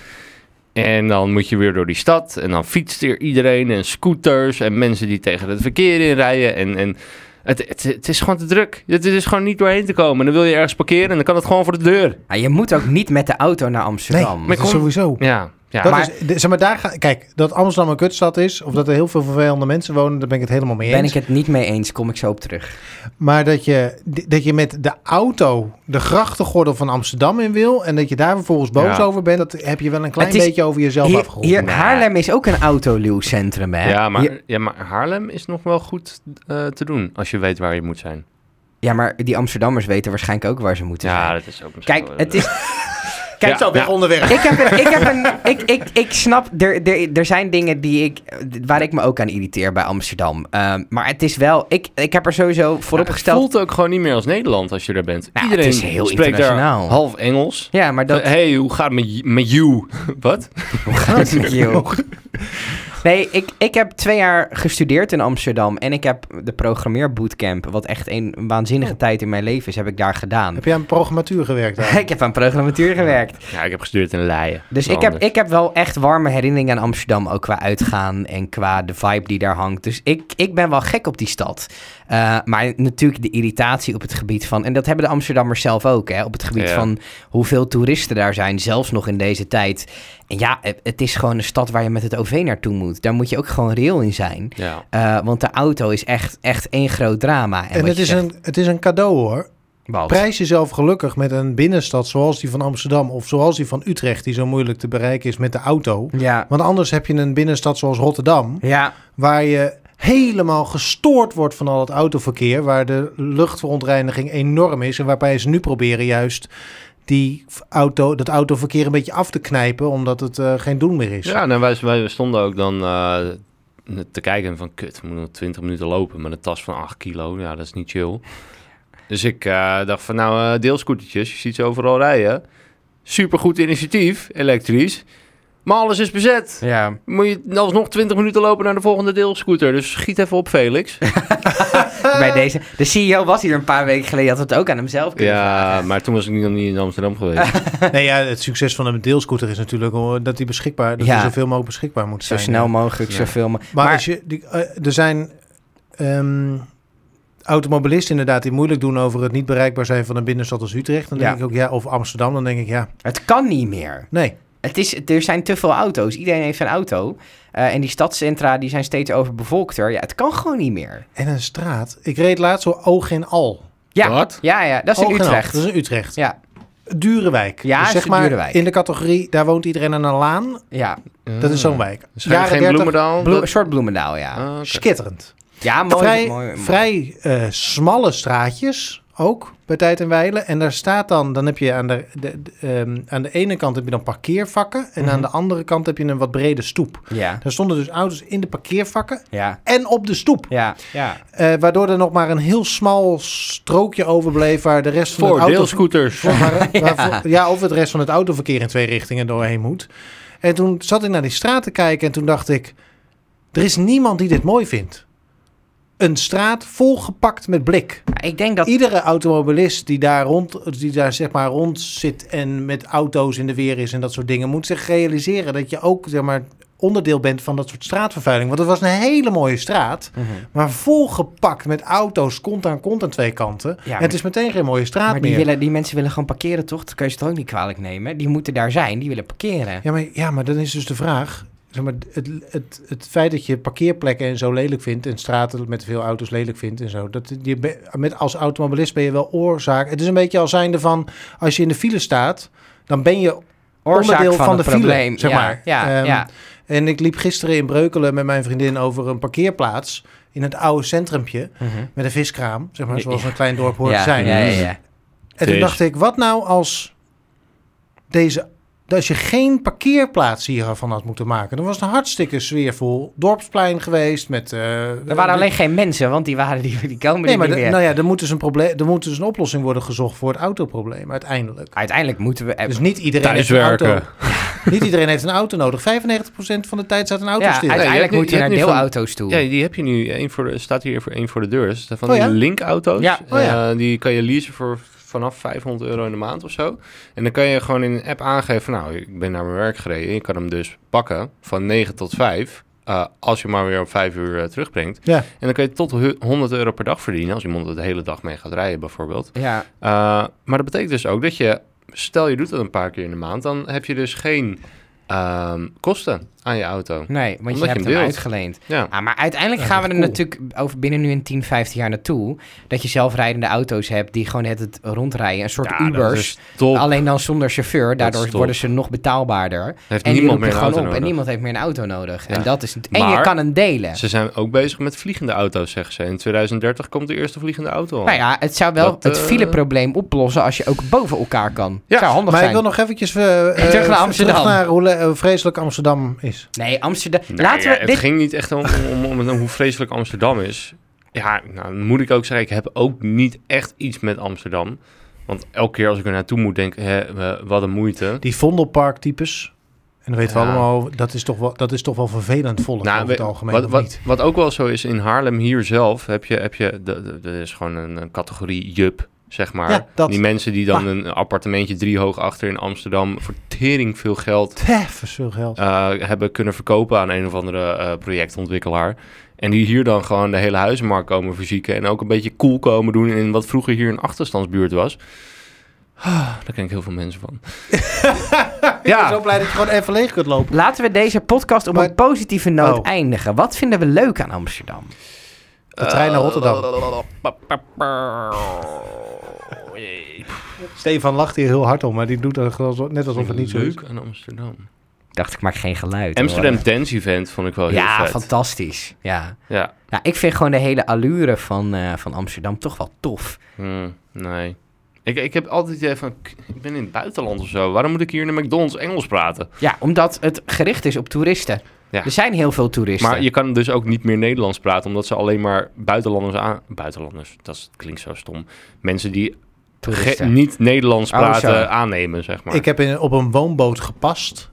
D: En dan moet je weer door die stad. En dan fietst er iedereen en scooters en mensen die tegen het verkeer inrijden. En, en het, het, het is gewoon te druk. Het is gewoon niet doorheen te komen. En dan wil je ergens parkeren en dan kan het gewoon voor de deur.
A: Ja, je moet ook niet met de auto naar Amsterdam.
B: Nee, dat
D: kom-
B: is sowieso.
D: Ja, ja.
B: Dat
D: maar,
B: is, de- zeg maar, daar ga, kijk, dat Amsterdam een kutstad is, of dat er heel veel vervelende mensen wonen, daar ben ik het helemaal mee
A: Ben
B: eens.
A: ik het niet mee eens, kom ik zo op terug.
B: Maar dat je, dat je met de auto de grachtengordel van Amsterdam in wil en dat je daar vervolgens boos
D: Ja.
B: over bent, dat heb je wel een klein
A: Het is-
B: beetje over jezelf
A: Hier,
B: afgeroepen.
A: hier,
D: Nee.
A: Haarlem is ook een autoluwcentrum, hè?
D: ja, maar,
A: Hier-
D: ja, maar Haarlem is nog wel goed eh, te doen als je weet waar je moet zijn.
A: ja, maar die Amsterdammers weten waarschijnlijk ook waar ze moeten
D: Ja,
A: zijn.
D: dat is ook misschien
A: Kijk,
D: wel-
A: het is...
D: Ja,
A: Kijk,
D: ja.
B: onderweg.
A: Ik heb een, ik heb een, ik, ik, ik snap, er, er, er zijn dingen die ik, waar ik me ook aan irriteer bij Amsterdam. Ehm, maar het is wel, ik, ik heb er sowieso vooropgesteld.
D: Ja, het voelt ook gewoon niet meer als Nederland als je er bent.
A: Nou,
D: Iedereen
A: het is heel
D: spreekt daar
A: internationaal.
D: half Engels.
A: Ja, maar dat
D: Hé, hey, hoe gaat het met, j- met you? Wat?
A: gaat met jou? Nee, ik, ik heb twee jaar gestudeerd in Amsterdam en ik heb de programmeerbootcamp, wat echt een waanzinnige tijd in mijn leven is, Oh. heb ik daar gedaan.
B: Heb jij aan programmatuur gewerkt daar?
A: Ik heb aan programmatuur gewerkt.
D: Ja, ik heb gestudeerd in Leiden.
A: Dus
D: Wel
A: ik heb,
D: anders.
A: ik heb wel echt warme herinneringen aan Amsterdam. Ook qua uitgaan en qua de vibe die daar hangt. Dus ik, ik ben wel gek op die stad. Eh, maar natuurlijk de irritatie op het gebied van... En dat hebben de Amsterdammers zelf ook. Hè, op het gebied
D: Ja.
A: van hoeveel toeristen daar zijn. Zelfs nog in deze tijd. En ja, het, het is gewoon een stad waar je met het OV naartoe moet. Daar moet je ook gewoon reëel in zijn.
D: Ja.
A: Eh, want de auto is echt, echt één groot drama. En,
B: En
A: wat
B: het
A: je
B: is,
A: zegt,
B: een, het is een cadeau hoor.
A: Walt,
B: Prijs jezelf gelukkig met een binnenstad zoals die van Amsterdam of zoals die van Utrecht, die zo moeilijk te bereiken is met de auto.
A: Ja.
B: Want anders heb je een binnenstad zoals Rotterdam,
A: Ja,
B: waar je helemaal gestoord wordt van al het autoverkeer, waar de luchtverontreiniging enorm is en waarbij ze nu proberen juist die auto, dat autoverkeer een beetje af te knijpen, omdat het eh, geen doen meer is.
D: Ja, nou, wij, wij stonden ook dan eh, te kijken van... Kut, we moeten nog 20 minuten lopen met een tas van 8 kilo. Ja, dat is niet chill. Dus ik eh, dacht van, nou, eh, deelscootertjes. Je ziet ze overal rijden. Supergoed initiatief, elektrisch. Maar alles is bezet.
A: ja.
D: Moet je alsnog 20 minuten lopen naar de volgende deelscooter. Dus schiet even op, Felix.
A: bij
B: Ah.
A: deze. De CEO was hier een paar weken geleden. Je had het ook aan hemzelf kunnen
D: Ja,
A: vragen.
D: maar toen was ik nog niet in Amsterdam geweest.
B: Nee, ja, het succes van een deelscooter is natuurlijk hoor, dat die beschikbaar, dat
A: Ja.
B: die zoveel mogelijk beschikbaar moet
A: Zo
B: zijn.
A: snel mogelijk,
D: Ja.
A: zoveel mo-
B: Maar,
A: Maar-
B: als je, die, eh, er zijn ehm, automobilisten inderdaad die moeilijk doen over het niet bereikbaar zijn van een binnenstad als Utrecht. Dan
A: Ja.
B: denk ik ook ja, of Amsterdam, dan denk ik ja,
A: Het kan niet meer.
B: nee.
A: Het is, er zijn te veel auto's. Iedereen heeft een auto. Eh, en die stadscentra die zijn steeds overbevolkter. Ja, het kan gewoon niet meer.
B: En een straat. Ik reed laatst zo oog in al.
A: Ja,
D: Wat?
A: ja, ja dat is
B: Oog
A: in
B: in al.
A: Utrecht.
B: Dat is in Utrecht.
A: Ja,
B: Dure wijk.
A: Ja,
B: dus
A: is
B: zeg
A: een
B: maar
A: dure wijk.
B: in de categorie daar woont iedereen aan een laan.
A: ja.
B: Dat is
A: Mm.
B: zo'n wijk.
A: Dus
D: Waarschijnlijk geen Bloemendaal.
A: Bloe- een
D: Dat-
A: soort Bloemendaal, ja.
D: Ah, oké.
B: Schitterend.
A: Ja, mooi.
B: vrij
A: mooi, mooi.
B: vrij eh, smalle straatjes. ook bij Tijd en Weilen. En daar staat dan, dan heb je aan de, de, de, ehm, aan de ene kant heb je dan parkeervakken. En
A: Mhm.
B: aan de andere kant heb je een wat brede stoep.
A: Ja,
B: Daar stonden dus auto's in de parkeervakken
A: ja,
B: en op de stoep.
A: ja, ja.
B: Eh, waardoor er nog maar een heel smal strookje overbleef waar de rest van
D: Voor
B: het auto...
D: deelscooters.
B: Voor- waar- waarvoor- ja, of het rest van het autoverkeer in twee richtingen doorheen moet. En toen zat ik naar die straat te kijken en toen dacht ik... Er is niemand die dit mooi vindt. Een straat volgepakt met blik.
A: Ik denk dat...
B: Iedere automobilist die daar, rond, die daar zeg maar rond zit en met auto's in de weer is en dat soort dingen... moet zich realiseren dat je ook zeg maar, onderdeel bent van dat soort straatvervuiling. Want het was een hele mooie straat,
A: Mhm.
B: maar volgepakt met auto's kont aan kont aan twee kanten.
A: Ja,
B: en het is meteen geen mooie straat
A: Maar die,
B: meer.
A: willen, die mensen willen gewoon parkeren, toch? Dat kun je ze toch ook niet kwalijk nemen? Die moeten daar zijn, die willen parkeren.
B: Ja, maar, ja, maar dan is dus de vraag... Zeg maar, het, het, het feit dat je parkeerplekken en zo lelijk vindt... en straten met veel auto's lelijk vindt en zo... Dat, je be- met, als automobilist ben je wel oorzaak. Het is een beetje als zijnde van... als je in de file staat, dan ben je
A: Oorzaak
B: onderdeel van,
A: van,
B: de
A: het
B: file,
A: probleem.
B: zeg
A: ja,
B: maar.
A: Ja,
B: Ehm,
A: ja.
B: En ik liep gisteren in Breukelen met mijn vriendin over een parkeerplaats... in het oude centrumpje,
A: Mhm.
B: met een viskraam... zeg maar,
A: Ja.
B: zoals een klein dorp hoort te
A: Ja,
B: zijn.
A: ja, ja, ja.
B: En toen
D: Deze.
B: dacht ik, wat nou als deze... Als je geen parkeerplaats hiervan had moeten maken. Dan was het een hartstikke sfeervol dorpsplein geweest. Met, eh,
A: Er waren alleen geen mensen, want die, waren, die, die komen
B: Nee,
A: er
B: maar
A: niet
B: de-
A: meer.
B: nou ja, er moet, dus een probleem, er moet dus een oplossing worden gezocht voor het autoprobleem uiteindelijk.
A: Uiteindelijk moeten we... eh,
B: Dus niet iedereen
D: Thuiswerken.
B: heeft een auto. niet iedereen heeft een auto nodig. 95% van de tijd staat een auto
A: ja,
B: stil.
D: uit-
A: uiteindelijk
D: nu-
A: moeten we
D: je
A: naar
D: hebt nu van-
A: deelauto's toe.
D: Ja, die heb je nu. Eén voor de, staat hier voor één voor de deur. Dus van
B: Oh ja?
D: die linkauto's.
A: Ja.
B: Oh ja.
D: Eh, die kan je leasen voor vanaf 500 euro in de maand of zo. En dan kan je gewoon in een app aangeven... van, nou, ik ben naar mijn werk gereden. Je kan hem dus pakken van 9 tot 5... eh, als je maar weer op 5 uur eh, terugbrengt.
B: Ja.
D: En dan kan je tot hu- 100 euro per dag verdienen... als iemand de hele dag mee gaat rijden bijvoorbeeld.
A: Ja,
D: Eh, maar dat betekent dus ook dat je... stel je doet dat een paar keer in de maand... dan heb je dus geen ehm, kosten aan je auto.
A: nee, want je
D: Omdat je
A: hebt
D: hem
A: hem
D: deelt.
A: uitgeleend.
D: Ja.
A: Ah, maar uiteindelijk gaan we er natuurlijk over binnen nu een 10, 15 jaar naartoe. Dat je zelfrijdende auto's hebt die gewoon het, het rondrijden. Een soort
D: Ja, dat
A: Ubers.
D: is dus top.
A: Alleen dan zonder chauffeur. Daardoor
D: top.
A: worden ze nog betaalbaarder.
D: Heeft
A: en die
D: niemand
A: roep
D: meer
A: je
D: een
A: gewoon
D: auto
A: op.
D: nodig.
A: En niemand heeft meer een auto nodig. En
D: Ja.
A: dat is het. En je
D: Maar-
A: kan hem delen.
D: Ze zijn ook bezig met vliegende auto's, zeggen ze. In 2030 komt de eerste vliegende auto al.
A: Nou ja, het zou wel
D: Dat,
A: het
D: eh,
A: fileprobleem oplossen als je ook boven elkaar kan.
D: Ja,
A: zou handig
B: maar
A: zijn.
B: ik wil nog eventjes eh, eh,
A: Terug naar Amsterdam.
B: terug naar hoe le- hoe vreselijk Amsterdam is.
A: Nee, Amsterdam.
D: Nou
A: Laten
D: ja,
A: we
D: het
A: dit.
D: ging niet echt om, om, om, om hoe vreselijk Amsterdam is. Ja, nou, dan moet ik ook zeggen, ik heb ook niet echt iets met Amsterdam. Want elke keer als ik er naartoe moet, denk ik, hè, eh, wat een moeite.
B: Die Vondelpark-types. En dan weten we
D: Ja.
B: allemaal, over- dat is toch wel, dat is toch wel vervelend volk
A: Nou,
B: over
D: Nou, we-
B: het algemeen,
D: wat,
B: of
D: wat,
B: niet?
D: wat ook wel zo is, in Haarlem hier zelf heb je, heb je de- de- er is gewoon een, een categorie jup, zeg maar.
B: Ja, dat.
D: Die mensen die dan
B: Ah.
D: een appartementje driehoog achter in Amsterdam voor tering veel geld
B: Teffers veel geld.
D: eh, hebben kunnen verkopen aan een of andere eh, projectontwikkelaar. En die hier dan gewoon de hele huizenmarkt komen verzieken. En ook een beetje cool komen doen in wat vroeger hier een achterstandsbuurt was. Ah, daar ken ik heel veel mensen van.
B: Ik ben zo
D: ja,
B: blij dat je gewoon even leeg kunt lopen.
A: Laten we deze podcast op
B: Maar-
A: een positieve noot
B: Oh.
A: eindigen. Wat vinden we leuk aan Amsterdam?
B: De trein
D: Eh,
B: naar Rotterdam. Stefan lacht hier heel hard om, maar die doet er gewoon net alsof het niet zo is.
D: leuk aan Amsterdam.
A: Dacht ik, maak geen geluid.
D: Amsterdam
A: hoor.
D: Dance Event vond ik wel heel
A: Ja,
D: vet.
A: fantastisch. Ja.
D: Ja.
A: Nou, ik vind gewoon de hele allure van, eh, van Amsterdam toch wel tof.
D: Hmm, nee. Ik, ik heb altijd het idee van, k- ik ben in het buitenland of zo. Waarom moet ik hier in de McDonald's Engels praten?
A: Ja, omdat het gericht is op toeristen.
D: Ja.
A: Er zijn heel veel toeristen.
D: Maar je kan dus ook niet meer Nederlands praten, omdat ze alleen maar buitenlanders aan. Buitenlanders, dat is- klinkt zo stom. Mensen die ge-
A: toeristen.
D: niet Nederlands
A: Oh,
D: praten
A: zo.
D: aannemen, zeg maar.
B: Ik heb in, op een woonboot gepast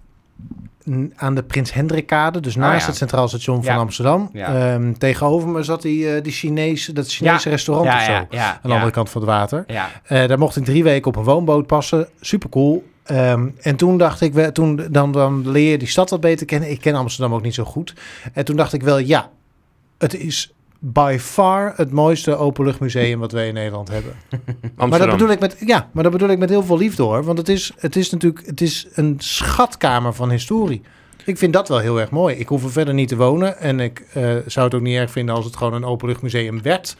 B: n- aan de Prins Hendrikkade, dus naast
A: Oh ja.
B: het Centraal Station van
A: Ja.
B: Amsterdam.
A: Ja.
B: Ehm, tegenover me zat die, eh, die Chinese, dat Chinese restaurant
A: ja,
B: of zo,
A: ja, ja,
B: aan de
A: ja.
B: andere kant van het water.
A: Ja.
B: Eh, daar mocht ik drie weken op een woonboot passen. Super cool. en toen dacht ik, we- toen, dan, dan leer je die stad wat beter kennen. Ik ken Amsterdam ook niet zo goed. En toen dacht ik wel, ja, het is by far het mooiste openluchtmuseum wat wij in Nederland hebben.
D: Amsterdam.
B: Maar dat bedoel ik met, ja, maar dat bedoel ik met heel veel liefde hoor. Want het is, het is natuurlijk, het is een schatkamer van historie. Ik vind dat wel heel erg mooi. Ik hoef er verder niet te wonen. En ik eh, zou het ook niet erg vinden als het gewoon een openluchtmuseum werd.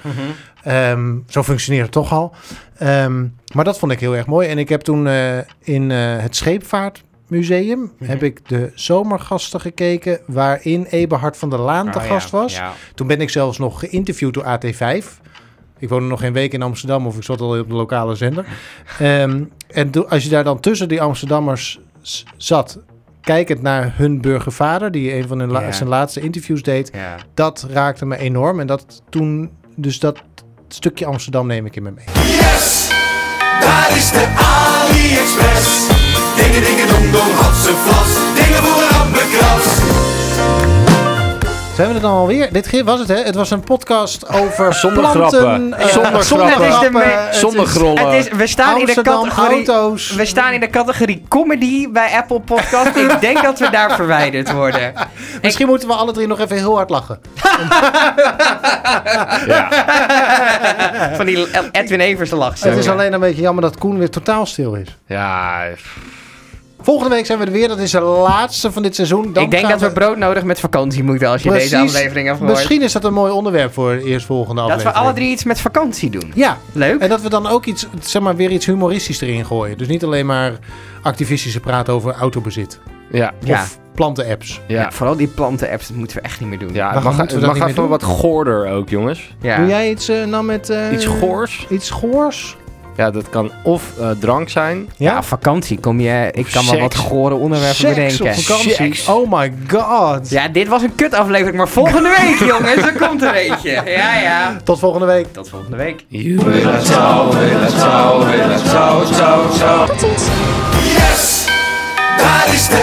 B: Ehm, zo functioneert het toch al. Ehm, maar dat vond ik heel erg mooi. En ik heb toen eh, in eh, het Scheepvaartmuseum...
A: Mhm.
B: heb ik de zomergasten gekeken... waarin Eberhard van der Laan te
A: Oh, ja.
B: gast was.
A: Ja.
B: Toen ben ik zelfs nog geïnterviewd door AT5. Ik woonde nog geen week in Amsterdam of ik zat al op de lokale zender. Ehm, en toen- als je daar dan tussen die Amsterdammers s- zat, kijkend naar hun burgervader, die een van hun la-
A: Ja.
B: zijn laatste interviews deed,
A: Ja.
B: dat raakte me enorm. En dat toen, dus dat stukje Amsterdam neem ik in me mee.
E: Yes, daar is de AliExpress. Dingen, dingen, dong, dong, hatse, vlas. Dingen voor een rampenkras.
B: Zijn we er dan alweer? Dit ge- was het, hè? Het was een podcast over
D: Zonder
B: planten,
D: grappen.
B: eh,
D: Zonder grappen.
A: Nou, Het is de me-
B: Het
D: Zonder
B: is
D: grollen.
A: Het is, we staan in
B: Amsterdam,
A: de categorie...
B: auto's.
A: We staan in de categorie comedy bij Apple Podcast. Ik denk dat we daar verwijderd worden.
B: Misschien moeten we alle drie nog even heel hard lachen.
D: Ja.
A: Van die Edwin Evers lach. zo.
B: Het is alleen een beetje jammer dat Koen weer totaal stil is.
D: ja, pff,
B: Volgende week zijn we er weer. Dat is de laatste van dit seizoen. Dan
A: Ik denk
B: gaan
A: dat we brood nodig met vakantie moeten als je
B: Precies.
A: deze aflevering hebt gehoord.
B: Misschien is dat een mooi onderwerp voor de eerstvolgende
A: Dat we
B: aflevering.
A: alle drie iets met vakantie doen.
B: Ja.
A: Leuk.
B: En dat we dan ook iets, zeg maar, weer iets humoristisch erin gooien. Dus niet alleen maar activistische praat over autobezit.
D: ja.
A: Ja.
B: Of planten-apps.
D: Ja.
A: Vooral die planten-apps, dat moeten we echt niet meer doen.
D: Ja, het
B: Waarom
D: mag,
B: moeten
D: het
B: we dat
D: mag
B: niet
D: even
B: meer
D: wat goorder ook, jongens.
A: Ja.
B: Doe jij iets eh, nou met... eh,
D: Iets goors.
B: Iets goors?
D: Ja, dat kan of eh, drank zijn.
A: Ja, vakantie kom je... Ik kan wel wat
D: Seks.
A: gore onderwerpen
B: Seks
A: bedenken.
B: op vakantie.
D: Seks.
B: Oh my god.
A: Ja, dit was een kut aflevering, maar volgende week, jongens, er komt er eentje. Ja, ja.
B: Tot volgende week.
A: Tot volgende week.
F: Tot ziens.
E: Yes, daar is de